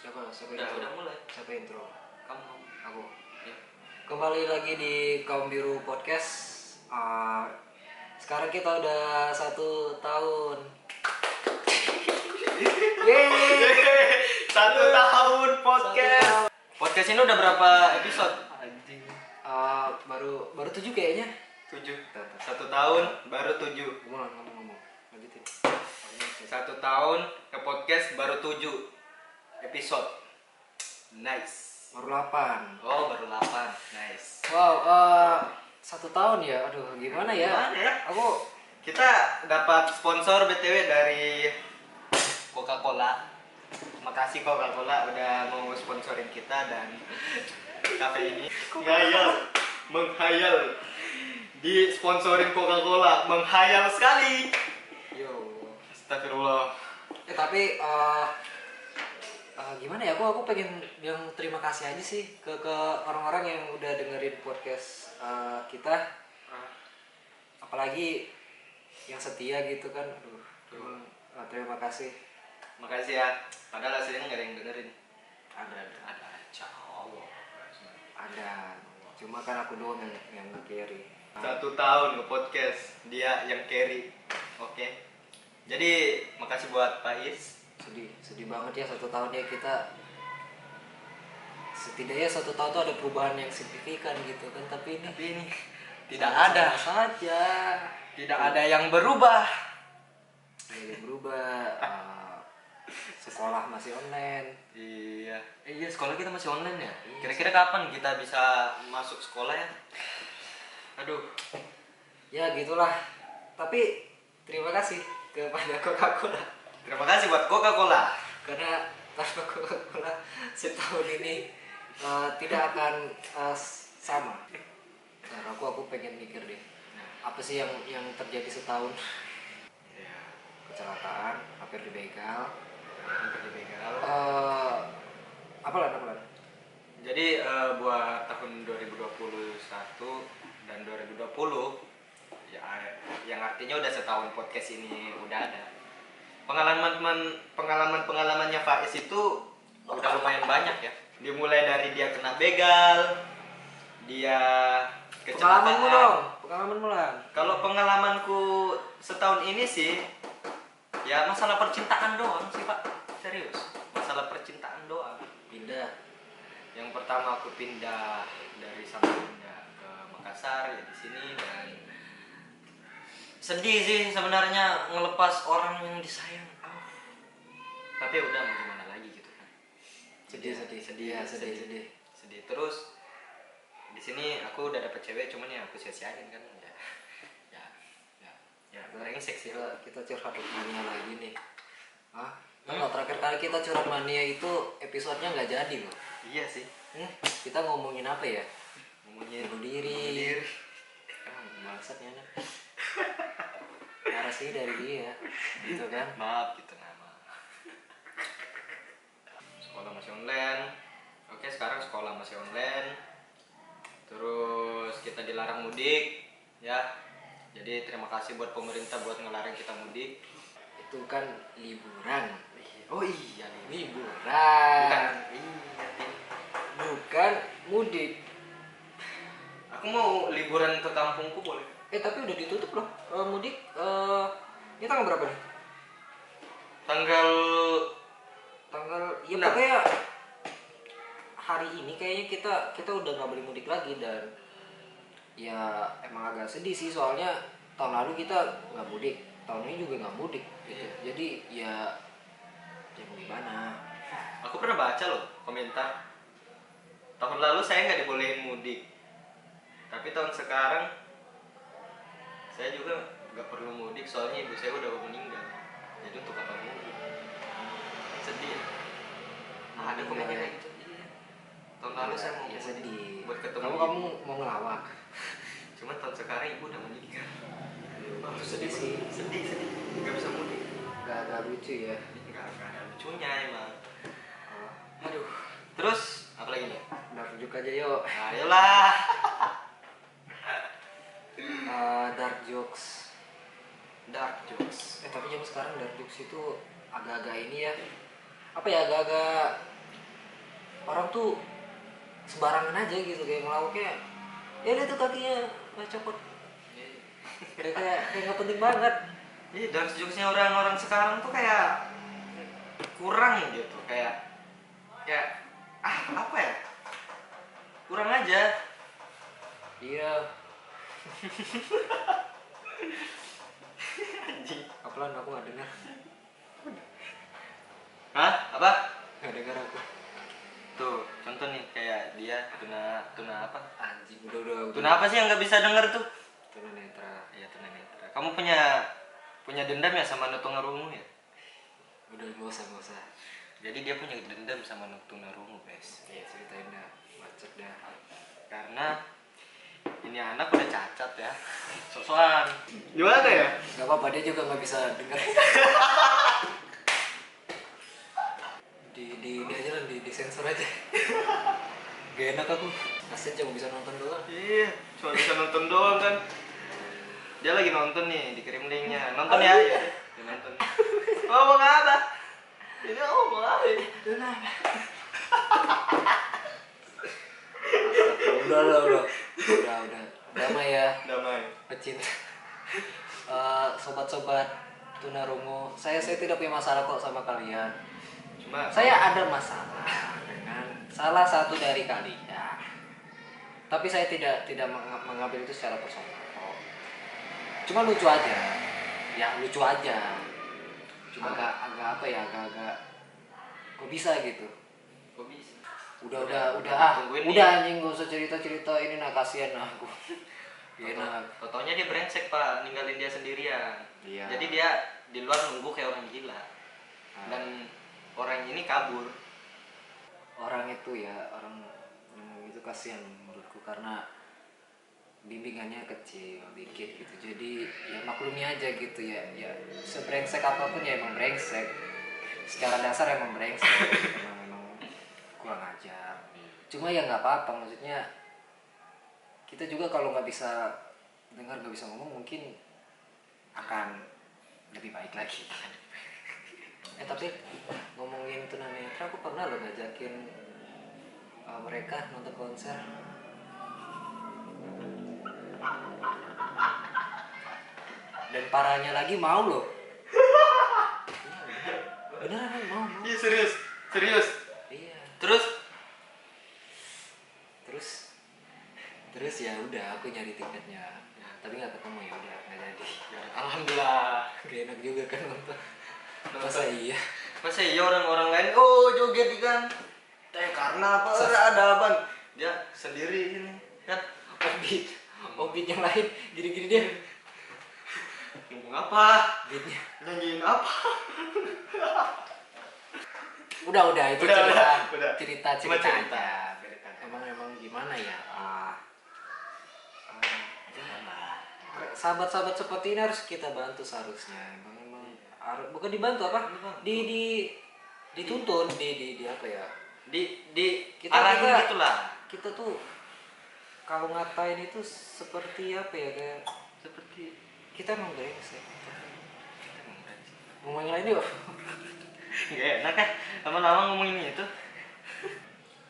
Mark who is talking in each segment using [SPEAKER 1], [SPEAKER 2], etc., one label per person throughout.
[SPEAKER 1] Siapa? Siapa
[SPEAKER 2] Udah,
[SPEAKER 1] intro?
[SPEAKER 2] udah mulai.
[SPEAKER 1] Siapa intro?
[SPEAKER 2] Kamu
[SPEAKER 1] Aku.
[SPEAKER 2] kamu. Ya.
[SPEAKER 1] Kembali lagi di Kaum Biru Podcast. Ah, sekarang kita udah satu tahun. Yeay!
[SPEAKER 2] Satu tahun podcast. Podcast ini udah berapa episode? Anjing.
[SPEAKER 1] Ah, baru baru tujuh kayaknya.
[SPEAKER 2] Tujuh. Satu tahun baru tujuh.
[SPEAKER 1] Ngomong ngomong-ngomong. Lanjutin.
[SPEAKER 2] Satu tahun ke podcast baru tujuh episode. Nice.
[SPEAKER 1] Baru delapan.
[SPEAKER 2] Oh baru delapan. Nice.
[SPEAKER 1] Wow, eh, satu tahun ya. Aduh, gimana ya?
[SPEAKER 2] Gimana ya?
[SPEAKER 1] Aku
[SPEAKER 2] Kita dapat sponsor btw dari Coca-Cola. Makasih Coca-Cola udah mau sponsorin kita dan kafe ini. Menghayal, menghayal. Di sponsorin Coca-Cola, menghayal sekali.
[SPEAKER 1] yo
[SPEAKER 2] Astagfirullah.
[SPEAKER 1] Ya, tapi eh, eh, gimana ya aku aku pengen bilang terima kasih aja sih ke ke orang-orang yang udah dengerin podcast eh, kita apalagi yang setia gitu kan aduh emang, eh, terima kasih
[SPEAKER 2] Makasih ya. Padahal aslinya nggak ada yang dengerin.
[SPEAKER 1] Ada,
[SPEAKER 2] ada aja Allah.
[SPEAKER 1] ada cuma kan aku doang yang yang carry Nah,
[SPEAKER 2] Satu tahun ke podcast dia yang carry. Oke. Jadi makasih buat Pak Is.
[SPEAKER 1] sedih sedih banget ya satu tahun ya kita setidaknya satu tahun tuh ada perubahan yang signifikan gitu kan tapi ini
[SPEAKER 2] Tapi ini
[SPEAKER 1] sama-sama saja
[SPEAKER 2] Tidak ada yang berubah.
[SPEAKER 1] Nggak ada yang berubah eh, sekolah masih online
[SPEAKER 2] Iya. Eh, iya sekolah kita masih online ya. Kira-kira kapan kita bisa masuk sekolah ya? Aduh.
[SPEAKER 1] ya gitulah tapi terima kasih kepada Coca-Cola
[SPEAKER 2] Terima kasih buat Coca-Cola.
[SPEAKER 1] karena tanpa Coca-Cola setahun ini eh, tidak akan eh, sama nah, aku aku pengen mikir deh apa sih yang yang terjadi setahun Ya, kecelakaan hampir dibegal Eh, apalah apalah
[SPEAKER 2] Jadi eh, buat tahun 2021 dan 2020 ya yang artinya udah setahun podcast ini udah ada. Pengalaman pengalaman pengalamannya Faiz itu udah lumayan banyak ya. Dimulai dari dia kena begal, dia
[SPEAKER 1] pengalamanmu dong
[SPEAKER 2] kecelakaan.
[SPEAKER 1] pengalamanmu lah
[SPEAKER 2] Kalau pengalamanku setahun ini sih ya masalah percintaan doang sih Pak. Serius, masalah percintaan doang
[SPEAKER 1] pindah
[SPEAKER 2] yang pertama aku pindah dari Samarinda ke Makassar ya di sini dan sedih sih sebenarnya ngelepas orang yang disayang Ah. tapi ya udah mau gimana lagi gitu kan Iya.
[SPEAKER 1] sedih sedih sedih ya, sedih sedih
[SPEAKER 2] sedih terus di sini aku udah dapet cewek cuman ya aku sia-siain kan ya ya ya ya brengsek sih
[SPEAKER 1] kita kita curhat mania lagi nih Hah? Kalau terakhir kali kita curhat mania itu episodenya nggak jadi loh
[SPEAKER 2] iya sih
[SPEAKER 1] hmm? kita ngomongin apa ya
[SPEAKER 2] ngomongin
[SPEAKER 1] bunuh diri
[SPEAKER 2] diri
[SPEAKER 1] ah, bangsat nih anak narasi dari dia gitu kan
[SPEAKER 2] maaf gitu nama sekolah masih online oke sekarang sekolah masih online terus kita dilarang mudik ya jadi terima kasih buat pemerintah buat ngelarang kita mudik
[SPEAKER 1] itu kan liburan
[SPEAKER 2] oh iya nih bukan
[SPEAKER 1] liburan
[SPEAKER 2] iya nih.
[SPEAKER 1] bukan mudik
[SPEAKER 2] aku mau liburan ke kampungku boleh
[SPEAKER 1] eh tapi udah ditutup loh Eh, mudik eh, ini tanggal berapa nih
[SPEAKER 2] tanggal
[SPEAKER 1] tanggal ya
[SPEAKER 2] Nah.
[SPEAKER 1] pokoknya hari ini kayaknya kita kita udah nggak boleh mudik lagi dan ya emang agak sedih sih soalnya tahun lalu kita nggak mudik tahun ini juga nggak mudik gitu
[SPEAKER 2] Iya.
[SPEAKER 1] jadi ya ya mau gimana
[SPEAKER 2] aku pernah baca loh komentar tahun lalu saya nggak dibolehin mudik tapi tahun sekarang saya juga nggak perlu mudik soalnya ibu saya udah meninggal jadi untuk apa mudik sedih ya? Nah, ada komen
[SPEAKER 1] Meninggal
[SPEAKER 2] kayak
[SPEAKER 1] ya.
[SPEAKER 2] gitu Iya. tahun lalu saya
[SPEAKER 1] ya
[SPEAKER 2] mau mudik
[SPEAKER 1] sedih
[SPEAKER 2] buat ketemu
[SPEAKER 1] kamu
[SPEAKER 2] ibu.
[SPEAKER 1] kamu mau ngelawak
[SPEAKER 2] cuman tahun sekarang ibu udah meninggal Wah,
[SPEAKER 1] sedih Iya sih.
[SPEAKER 2] sedih sedih nggak bisa mudik
[SPEAKER 1] nggak nggak lucu ya
[SPEAKER 2] nggak nggak ada lucunya emang
[SPEAKER 1] Oh,
[SPEAKER 2] aduh terus apa lagi nih
[SPEAKER 1] udah rujuk aja yuk
[SPEAKER 2] ayolah
[SPEAKER 1] Eh, dark jokes
[SPEAKER 2] dark jokes
[SPEAKER 1] Eh tapi jam sekarang dari Dux itu agak-agak ini ya apa ya agak-agak orang tuh sembarangan aja gitu kayak ngelawaknya ya udah tuh kakinya nggak copot kayak kayak kayak nggak penting banget
[SPEAKER 2] Iya, dan sejuknya orang-orang sekarang tuh kayak kurang gitu, kayak kayak ah apa ya? Kurang aja.
[SPEAKER 1] iya apalan aku nggak dengar
[SPEAKER 2] Hah? Apa?
[SPEAKER 1] nggak dengar aku
[SPEAKER 2] Tuh, contoh nih kayak dia tuna tuna apa?
[SPEAKER 1] anjing udah udah udah.
[SPEAKER 2] Tuna apa sih yang nggak bisa denger tuh?
[SPEAKER 1] tunanetra
[SPEAKER 2] Iya, tuna netra. Kamu punya punya dendam ya sama Nutungarungu ya?
[SPEAKER 1] udah nggak usah nggak usah
[SPEAKER 2] Jadi dia punya dendam sama Nutungarungu, guys.
[SPEAKER 1] ya ceritain dah macet dah
[SPEAKER 2] Karena ini anak udah cacat ya. Sosokan. Gimana ya?
[SPEAKER 1] nggak apa-apa dia juga nggak bisa dengar di di ini aja lah di, di sensor aja gak enak aku kasian cuma bisa nonton doang
[SPEAKER 2] Iya, cuma bisa nonton doang kan. Dia lagi nonton nih, dikirim linknya. Nonton ya, ya. Dia nonton. Oh, mau apa? Ini oh, mau apa? ini?
[SPEAKER 1] udah udah udah udah udah damai ya
[SPEAKER 2] Damai.
[SPEAKER 1] pecinta Eh, sobat-sobat tunarungu saya saya tidak punya masalah kok sama kalian
[SPEAKER 2] Cuma
[SPEAKER 1] saya ada masalah dengan salah satu dari kalian tapi saya tidak tidak meng- mengambil itu secara personal kok. cuma lucu aja ya lucu aja cuma agak agak apa ya agak agak kok bisa gitu
[SPEAKER 2] kok bisa?
[SPEAKER 1] udah udah udah ah,
[SPEAKER 2] Tungguin
[SPEAKER 1] udah anjing gak usah cerita cerita ini nah kasihan nah aku Iya, nah, Gak enak
[SPEAKER 2] Enak. Totonya Iya, nah, dia brengsek, Pak, ninggalin dia sendirian.
[SPEAKER 1] Iya.
[SPEAKER 2] Jadi dia di luar nunggu kayak orang gila. Dan orang ini kabur.
[SPEAKER 1] orang itu ya orang yang itu kasihan menurutku karena bimbingannya kecil dikit gitu jadi ya maklumi aja gitu ya ya sebrengsek apapun ya emang brengsek secara dasar emang brengsek emang emang kurang ajar cuma ya nggak apa-apa maksudnya kita juga kalau nggak bisa dengar nggak bisa ngomong mungkin akan lebih baik lagi eh tapi ngomongin tunanetra aku pernah loh ngajakin uh, mereka nonton konser dan parahnya lagi mau loh Iya, beneran beneran, mau mau
[SPEAKER 2] Iya, serius. Serius.
[SPEAKER 1] iya
[SPEAKER 2] Terus
[SPEAKER 1] terus terus ya udah aku nyari tiketnya Nah, tapi nggak ketemu ya udah nggak jadi
[SPEAKER 2] ya, alhamdulillah.
[SPEAKER 1] gak enak juga kan nonton masa iya
[SPEAKER 2] Masa iya orang-orang lain, oh joget ikan. Teh karena apa? Ora ada abang. Dia sendiri ini kan.
[SPEAKER 1] obit obit oh, yang lain gini-gini dia
[SPEAKER 2] Ngomong apa?
[SPEAKER 1] obitnya
[SPEAKER 2] Nyanyiin apa?
[SPEAKER 1] udah udah itu
[SPEAKER 2] Udah,
[SPEAKER 1] cerita
[SPEAKER 2] udah, udah.
[SPEAKER 1] cerita
[SPEAKER 2] Cuma
[SPEAKER 1] cerita,
[SPEAKER 2] cerita.
[SPEAKER 1] aja
[SPEAKER 2] Cerita.
[SPEAKER 1] emang emang gimana ya Ah, ah, janganlah. Ah, sahabat-sahabat seperti ini harus kita bantu seharusnya emang emang
[SPEAKER 2] Iya.
[SPEAKER 1] harus bukan dibantu apa di di dituntun di di, di apa ya
[SPEAKER 2] Di di
[SPEAKER 1] Kita-
[SPEAKER 2] arahin
[SPEAKER 1] kita-
[SPEAKER 2] gitu lah.
[SPEAKER 1] kita tuh kalau ngatain itu seperti apa ya kayak
[SPEAKER 2] Seperti
[SPEAKER 1] kita emang brengsek ngomong yang lain yuk
[SPEAKER 2] Gak enak kan lama-lama ngomongin itu.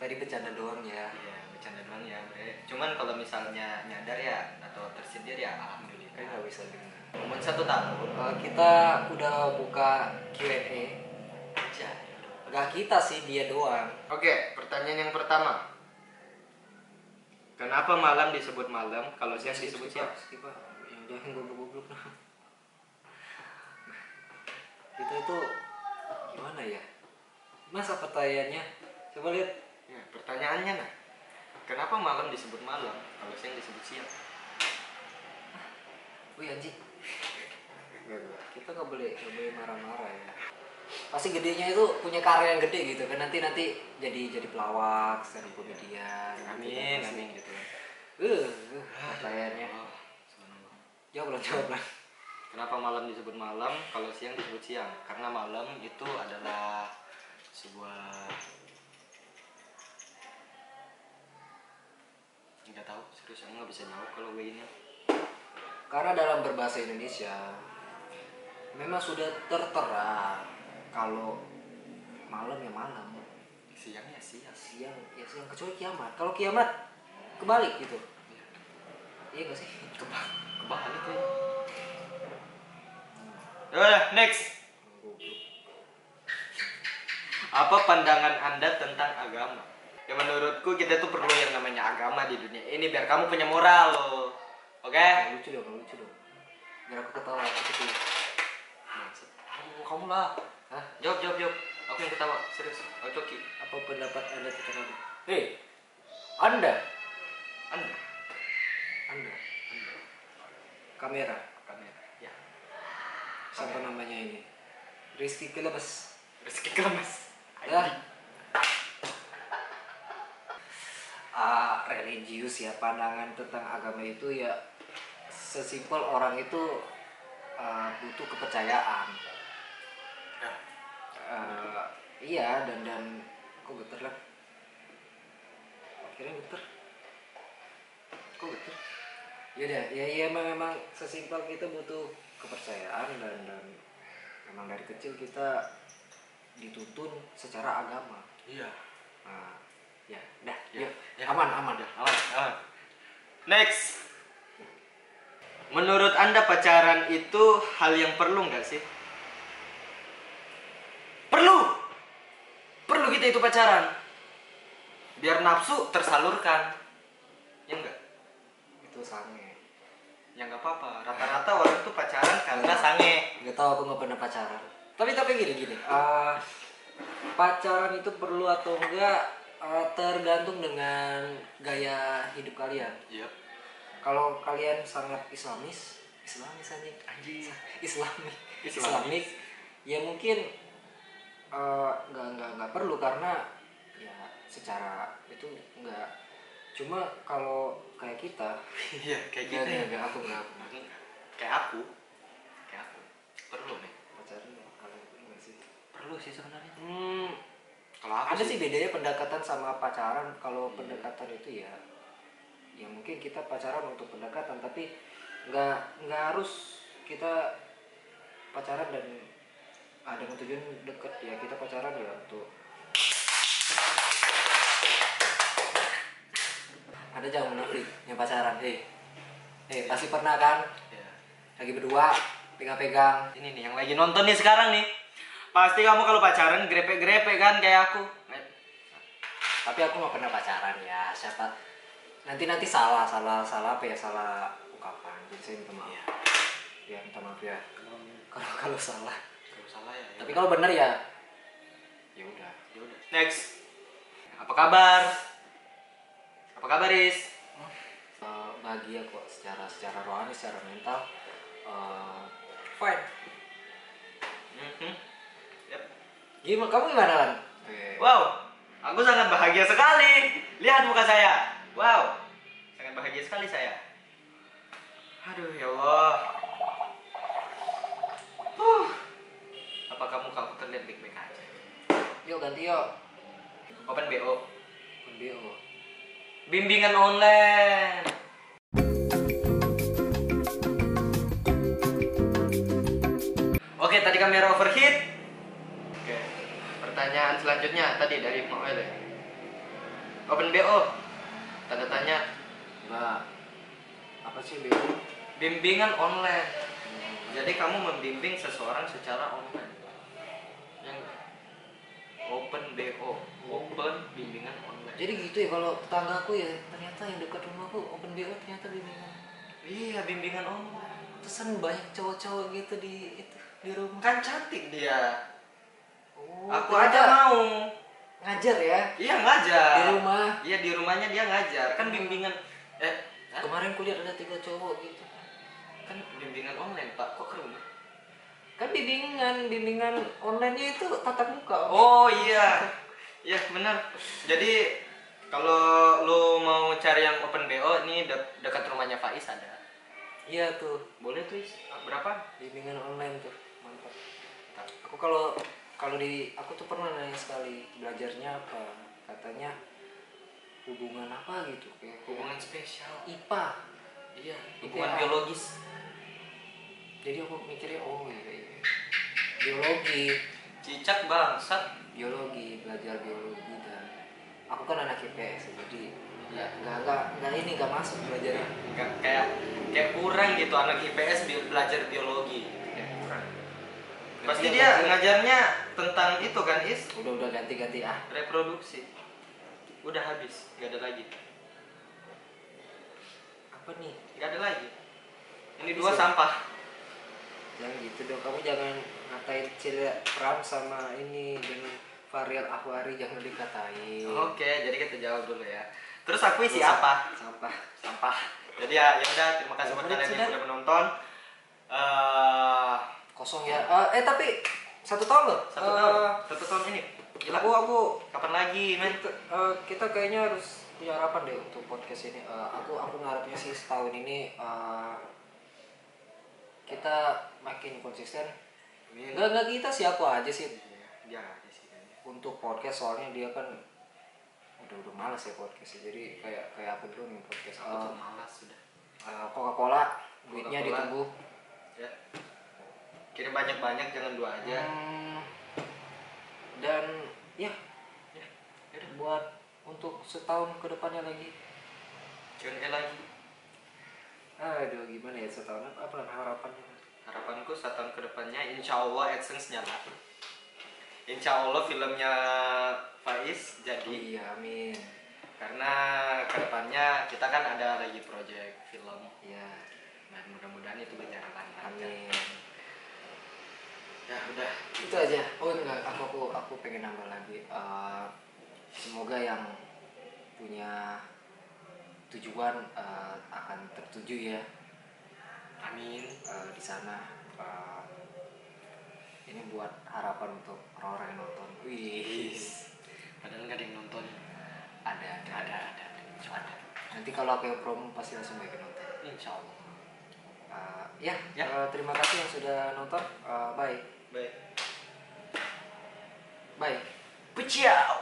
[SPEAKER 1] tadi bercanda doang ya
[SPEAKER 2] Iya, bercanda doang ya, Bre. Cuman kalau misalnya nyadar ya atau tersindir ya
[SPEAKER 1] kayak
[SPEAKER 2] alhamdulillah.
[SPEAKER 1] nggak bisa dengar
[SPEAKER 2] Umur satu tahun.
[SPEAKER 1] Uh, kita udah buka Q&A
[SPEAKER 2] Aja.
[SPEAKER 1] Gak kita sih dia doang
[SPEAKER 2] Oke, pertanyaan yang pertama. Kenapa malam disebut malam kalau siang disebut siang?
[SPEAKER 1] Ya, skip ah. Ya udah yang goblok-goblok lah. Kita itu gimana ya Masa pertanyaannya Coba lihat
[SPEAKER 2] Ya, pertanyaannya nah. Kenapa malam disebut malam kalau siang disebut siang?
[SPEAKER 1] Wih anjing Kita gak boleh, nggak boleh marah-marah ya Pasti gedenya itu punya karya yang gede gitu kan Nanti nanti jadi jadi pelawak, stand up comedian kan.
[SPEAKER 2] Amin, amin gitu.
[SPEAKER 1] Uh, uh, pertanyaannya
[SPEAKER 2] Oh, subhanallah.
[SPEAKER 1] Jawab lah, jawab lah
[SPEAKER 2] Kenapa malam disebut malam kalau siang disebut siang? Karena malam itu adalah sebuah nggak tahu serius aku nggak bisa jawab kalau gue ini
[SPEAKER 1] Karena dalam berbahasa Indonesia memang sudah tertera kalau malam ya malam,
[SPEAKER 2] siang ya siang
[SPEAKER 1] siang ya siang kecuali kiamat kalau kiamat kebalik gitu
[SPEAKER 2] Ya,
[SPEAKER 1] iya gak sih
[SPEAKER 2] kebal kebalik ya Yaudah, next apa pandangan anda tentang agama ya menurutku kita tuh perlu yang namanya agama di dunia ini biar kamu punya moral loh oke
[SPEAKER 1] Nggak lucu dong nggak lucu dong biar aku ketawa aku ketawa
[SPEAKER 2] Bangsat.
[SPEAKER 1] kamu, kamu lah Hah?
[SPEAKER 2] jawab jawab jawab aku yang ketawa serius Oh, oke oke
[SPEAKER 1] apa pendapat anda tentang aku hei anda anda
[SPEAKER 2] anda anda
[SPEAKER 1] kamera
[SPEAKER 2] kamera ya
[SPEAKER 1] siapa
[SPEAKER 2] Kamera.
[SPEAKER 1] namanya ini Rizky Kelebes
[SPEAKER 2] rezeki kemas
[SPEAKER 1] ya ah religius ya pandangan tentang agama itu ya sesimpel orang itu ah, butuh kepercayaan Ya.
[SPEAKER 2] Nah,
[SPEAKER 1] Eh, iya dan dan kok geter lah akhirnya geter kok geter ya udah ya ya memang, memang sesimpel kita butuh kepercayaan dan dan memang dari kecil kita dituntun secara agama
[SPEAKER 2] iya
[SPEAKER 1] nah, ya dah
[SPEAKER 2] Ya,
[SPEAKER 1] yuk.
[SPEAKER 2] ya.
[SPEAKER 1] aman aman
[SPEAKER 2] Udah, aman aman next menurut anda pacaran itu hal yang perlu nggak sih perlu perlu kita itu pacaran biar nafsu tersalurkan ya enggak
[SPEAKER 1] itu sange
[SPEAKER 2] ya nggak apa-apa rata-rata orang tuh pacaran karena sange
[SPEAKER 1] nggak tahu aku nggak pernah pacaran tapi tapi gini gini eh, pacaran itu perlu atau enggak eh, tergantung dengan gaya hidup kalian
[SPEAKER 2] iya
[SPEAKER 1] kalau kalian sangat islamis islamis anjing
[SPEAKER 2] anjing
[SPEAKER 1] islami
[SPEAKER 2] Islamis.
[SPEAKER 1] islamis ya mungkin eh, nggak nggak nggak perlu karena ya secara itu nggak cuma kalau kayak kita
[SPEAKER 2] iya kayak
[SPEAKER 1] nggak
[SPEAKER 2] gitu ya
[SPEAKER 1] nggak nggak, aku nggak aku nggak.
[SPEAKER 2] kayak aku kayak aku perlu nih
[SPEAKER 1] pacaran ya. kalau enggak sih
[SPEAKER 2] perlu sih sebenarnya
[SPEAKER 1] hmm,
[SPEAKER 2] kalau aku
[SPEAKER 1] ada sih bedanya pendekatan sama pacaran kalau pendekatan itu ya ya mungkin kita pacaran untuk pendekatan tapi nggak nggak harus kita pacaran dan ada dengan tujuan deket ya kita pacaran ya untuk ada jangan munafik yang pacaran eh eh pasti pernah kan
[SPEAKER 2] Ya.
[SPEAKER 1] lagi berdua pegang-pegang
[SPEAKER 2] ini nih yang lagi nonton nih sekarang nih pasti kamu kalau pacaran grepe-grepe kan kayak aku
[SPEAKER 1] tapi aku nggak pernah pacaran ya siapa nanti nanti salah salah salah apa ya salah ungkapan jadi saya minta maaf ya, minta maaf ya kalau kalau salah
[SPEAKER 2] kalau salah ya
[SPEAKER 1] tapi kalau benar ya ya udah
[SPEAKER 2] udah next apa kabar apa kabar Riz
[SPEAKER 1] Eh, bahagia kok secara secara rohani secara mental eh, fine
[SPEAKER 2] Mhm. Yep.
[SPEAKER 1] gimana kamu gimana lan Eh,
[SPEAKER 2] wow aku sangat bahagia sekali lihat muka saya wow sangat bahagia sekali saya aduh ya Allah Huh. apakah muka aku terlihat baik-baik aja
[SPEAKER 1] yuk ganti yuk
[SPEAKER 2] open BO
[SPEAKER 1] BO
[SPEAKER 2] bimbingan online oke tadi kamera overheat oke pertanyaan selanjutnya tadi dari Noel ya open BO tanda tanya
[SPEAKER 1] enggak apa sih BO
[SPEAKER 2] bimbingan online
[SPEAKER 1] Hmm,
[SPEAKER 2] jadi kamu membimbing seseorang secara online yang open BO open bimbingan online
[SPEAKER 1] jadi gitu ya kalau tetanggaku ya ternyata yang dekat rumahku open BO ternyata bimbingan
[SPEAKER 2] iya bimbingan online
[SPEAKER 1] pesan banyak cowok-cowok gitu di itu di rumah
[SPEAKER 2] kan cantik dia
[SPEAKER 1] oh,
[SPEAKER 2] aku
[SPEAKER 1] ternyata
[SPEAKER 2] aja mau
[SPEAKER 1] ngajar ya
[SPEAKER 2] iya ngajar
[SPEAKER 1] di rumah
[SPEAKER 2] iya di rumahnya dia ngajar kan bimbingan eh hah?
[SPEAKER 1] kemarin kuliah ada tiga cowok gitu
[SPEAKER 2] kan bimbingan online pak kok ke rumah
[SPEAKER 1] kan bimbingan bimbingan online itu tatap muka
[SPEAKER 2] oh iya iya benar jadi kalau lu mau cari yang open bo ini de- dekat rumahnya Faiz ada
[SPEAKER 1] iya tuh
[SPEAKER 2] boleh tuh Is. berapa
[SPEAKER 1] bimbingan online tuh mantap
[SPEAKER 2] Bentar.
[SPEAKER 1] aku kalau kalau di aku tuh pernah nanya sekali belajarnya apa katanya hubungan apa gitu kayak
[SPEAKER 2] hubungan spesial
[SPEAKER 1] IPA
[SPEAKER 2] iya
[SPEAKER 1] IPA.
[SPEAKER 2] hubungan biologis
[SPEAKER 1] jadi aku mikirnya oh iya, iya. biologi
[SPEAKER 2] cicak bangsat
[SPEAKER 1] biologi belajar biologi dan aku kan anak IPS jadi
[SPEAKER 2] Ya.
[SPEAKER 1] nggak nggak nggak ini nggak masuk belajarnya
[SPEAKER 2] Nggak, kayak kayak kurang gitu anak IPS bi- belajar biologi kayak kurang pasti
[SPEAKER 1] Iya,
[SPEAKER 2] dia
[SPEAKER 1] pasti.
[SPEAKER 2] ngajarnya tentang itu kan is
[SPEAKER 1] udah udah ganti ganti ah
[SPEAKER 2] reproduksi udah habis nggak ada lagi
[SPEAKER 1] apa nih
[SPEAKER 2] nggak ada lagi ini
[SPEAKER 1] Habis
[SPEAKER 2] dua
[SPEAKER 1] ya?
[SPEAKER 2] sampah
[SPEAKER 1] jangan gitu dong kamu jangan ngatain Cile Pram sama ini dengan Varial Ahwari jangan dikatain
[SPEAKER 2] Oh, oke jadi kita jawab dulu ya terus aku isi
[SPEAKER 1] Terus
[SPEAKER 2] apa
[SPEAKER 1] Iya. sampah
[SPEAKER 2] sampah jadi ya ya udah terima kasih buat
[SPEAKER 1] Udah,
[SPEAKER 2] kalian
[SPEAKER 1] sudah.
[SPEAKER 2] yang udah menonton Eh,
[SPEAKER 1] kosong ya Eh, eh tapi satu tahun loh
[SPEAKER 2] satu
[SPEAKER 1] Eh,
[SPEAKER 2] tahun satu tahun ini gila
[SPEAKER 1] aku aku
[SPEAKER 2] kapan lagi men
[SPEAKER 1] kita, eh, kita kayaknya harus punya harapan deh untuk podcast ini Eh, aku aku ngarepnya sih setahun ini eh, kita makin konsisten
[SPEAKER 2] Ini-
[SPEAKER 1] enggak enggak kita sih aku aja sih
[SPEAKER 2] Iya, dia nggak ada sih kayaknya.
[SPEAKER 1] untuk podcast soalnya dia kan udah udah malas ya podcast jadi kayak kayak aku dulu nih podcast
[SPEAKER 2] aku
[SPEAKER 1] Eh,
[SPEAKER 2] tuh malas sudah
[SPEAKER 1] Eh, Coca-Cola duitnya
[SPEAKER 2] Oh. Coca-Cola.
[SPEAKER 1] ditunggu
[SPEAKER 2] ya kirim banyak banyak jangan dua aja
[SPEAKER 1] Hmm, dan ya
[SPEAKER 2] ya
[SPEAKER 1] Hmm.
[SPEAKER 2] yaudah
[SPEAKER 1] buat untuk setahun ke depannya lagi
[SPEAKER 2] Q&A E lagi
[SPEAKER 1] aduh gimana ya setahun apa, apa harapannya
[SPEAKER 2] harapanku satu tahun kedepannya insya Allah AdSense nyala insya Allah filmnya Faiz jadi
[SPEAKER 1] iya amin
[SPEAKER 2] karena kedepannya kita kan ada lagi project film
[SPEAKER 1] ya
[SPEAKER 2] nah mudah-mudahan itu berjalan lancar
[SPEAKER 1] amin
[SPEAKER 2] ya udah
[SPEAKER 1] itu aja oh enggak aku aku aku pengen nambah lagi Eh, semoga yang punya tujuan eh, akan tertuju ya
[SPEAKER 2] amin
[SPEAKER 1] eh, di sana eh, ini buat harapan untuk orang-orang yang nonton wih
[SPEAKER 2] padahal nggak ada yang nonton
[SPEAKER 1] ada ada
[SPEAKER 2] ada
[SPEAKER 1] ada
[SPEAKER 2] ada ada insya Allah
[SPEAKER 1] nanti kalau aku yang promo pasti langsung banyak yang nonton
[SPEAKER 2] insya Allah
[SPEAKER 1] Eh, ya,
[SPEAKER 2] Ya.
[SPEAKER 1] eh, terima kasih yang sudah nonton Eh, bye
[SPEAKER 2] baik
[SPEAKER 1] bye
[SPEAKER 2] Peciao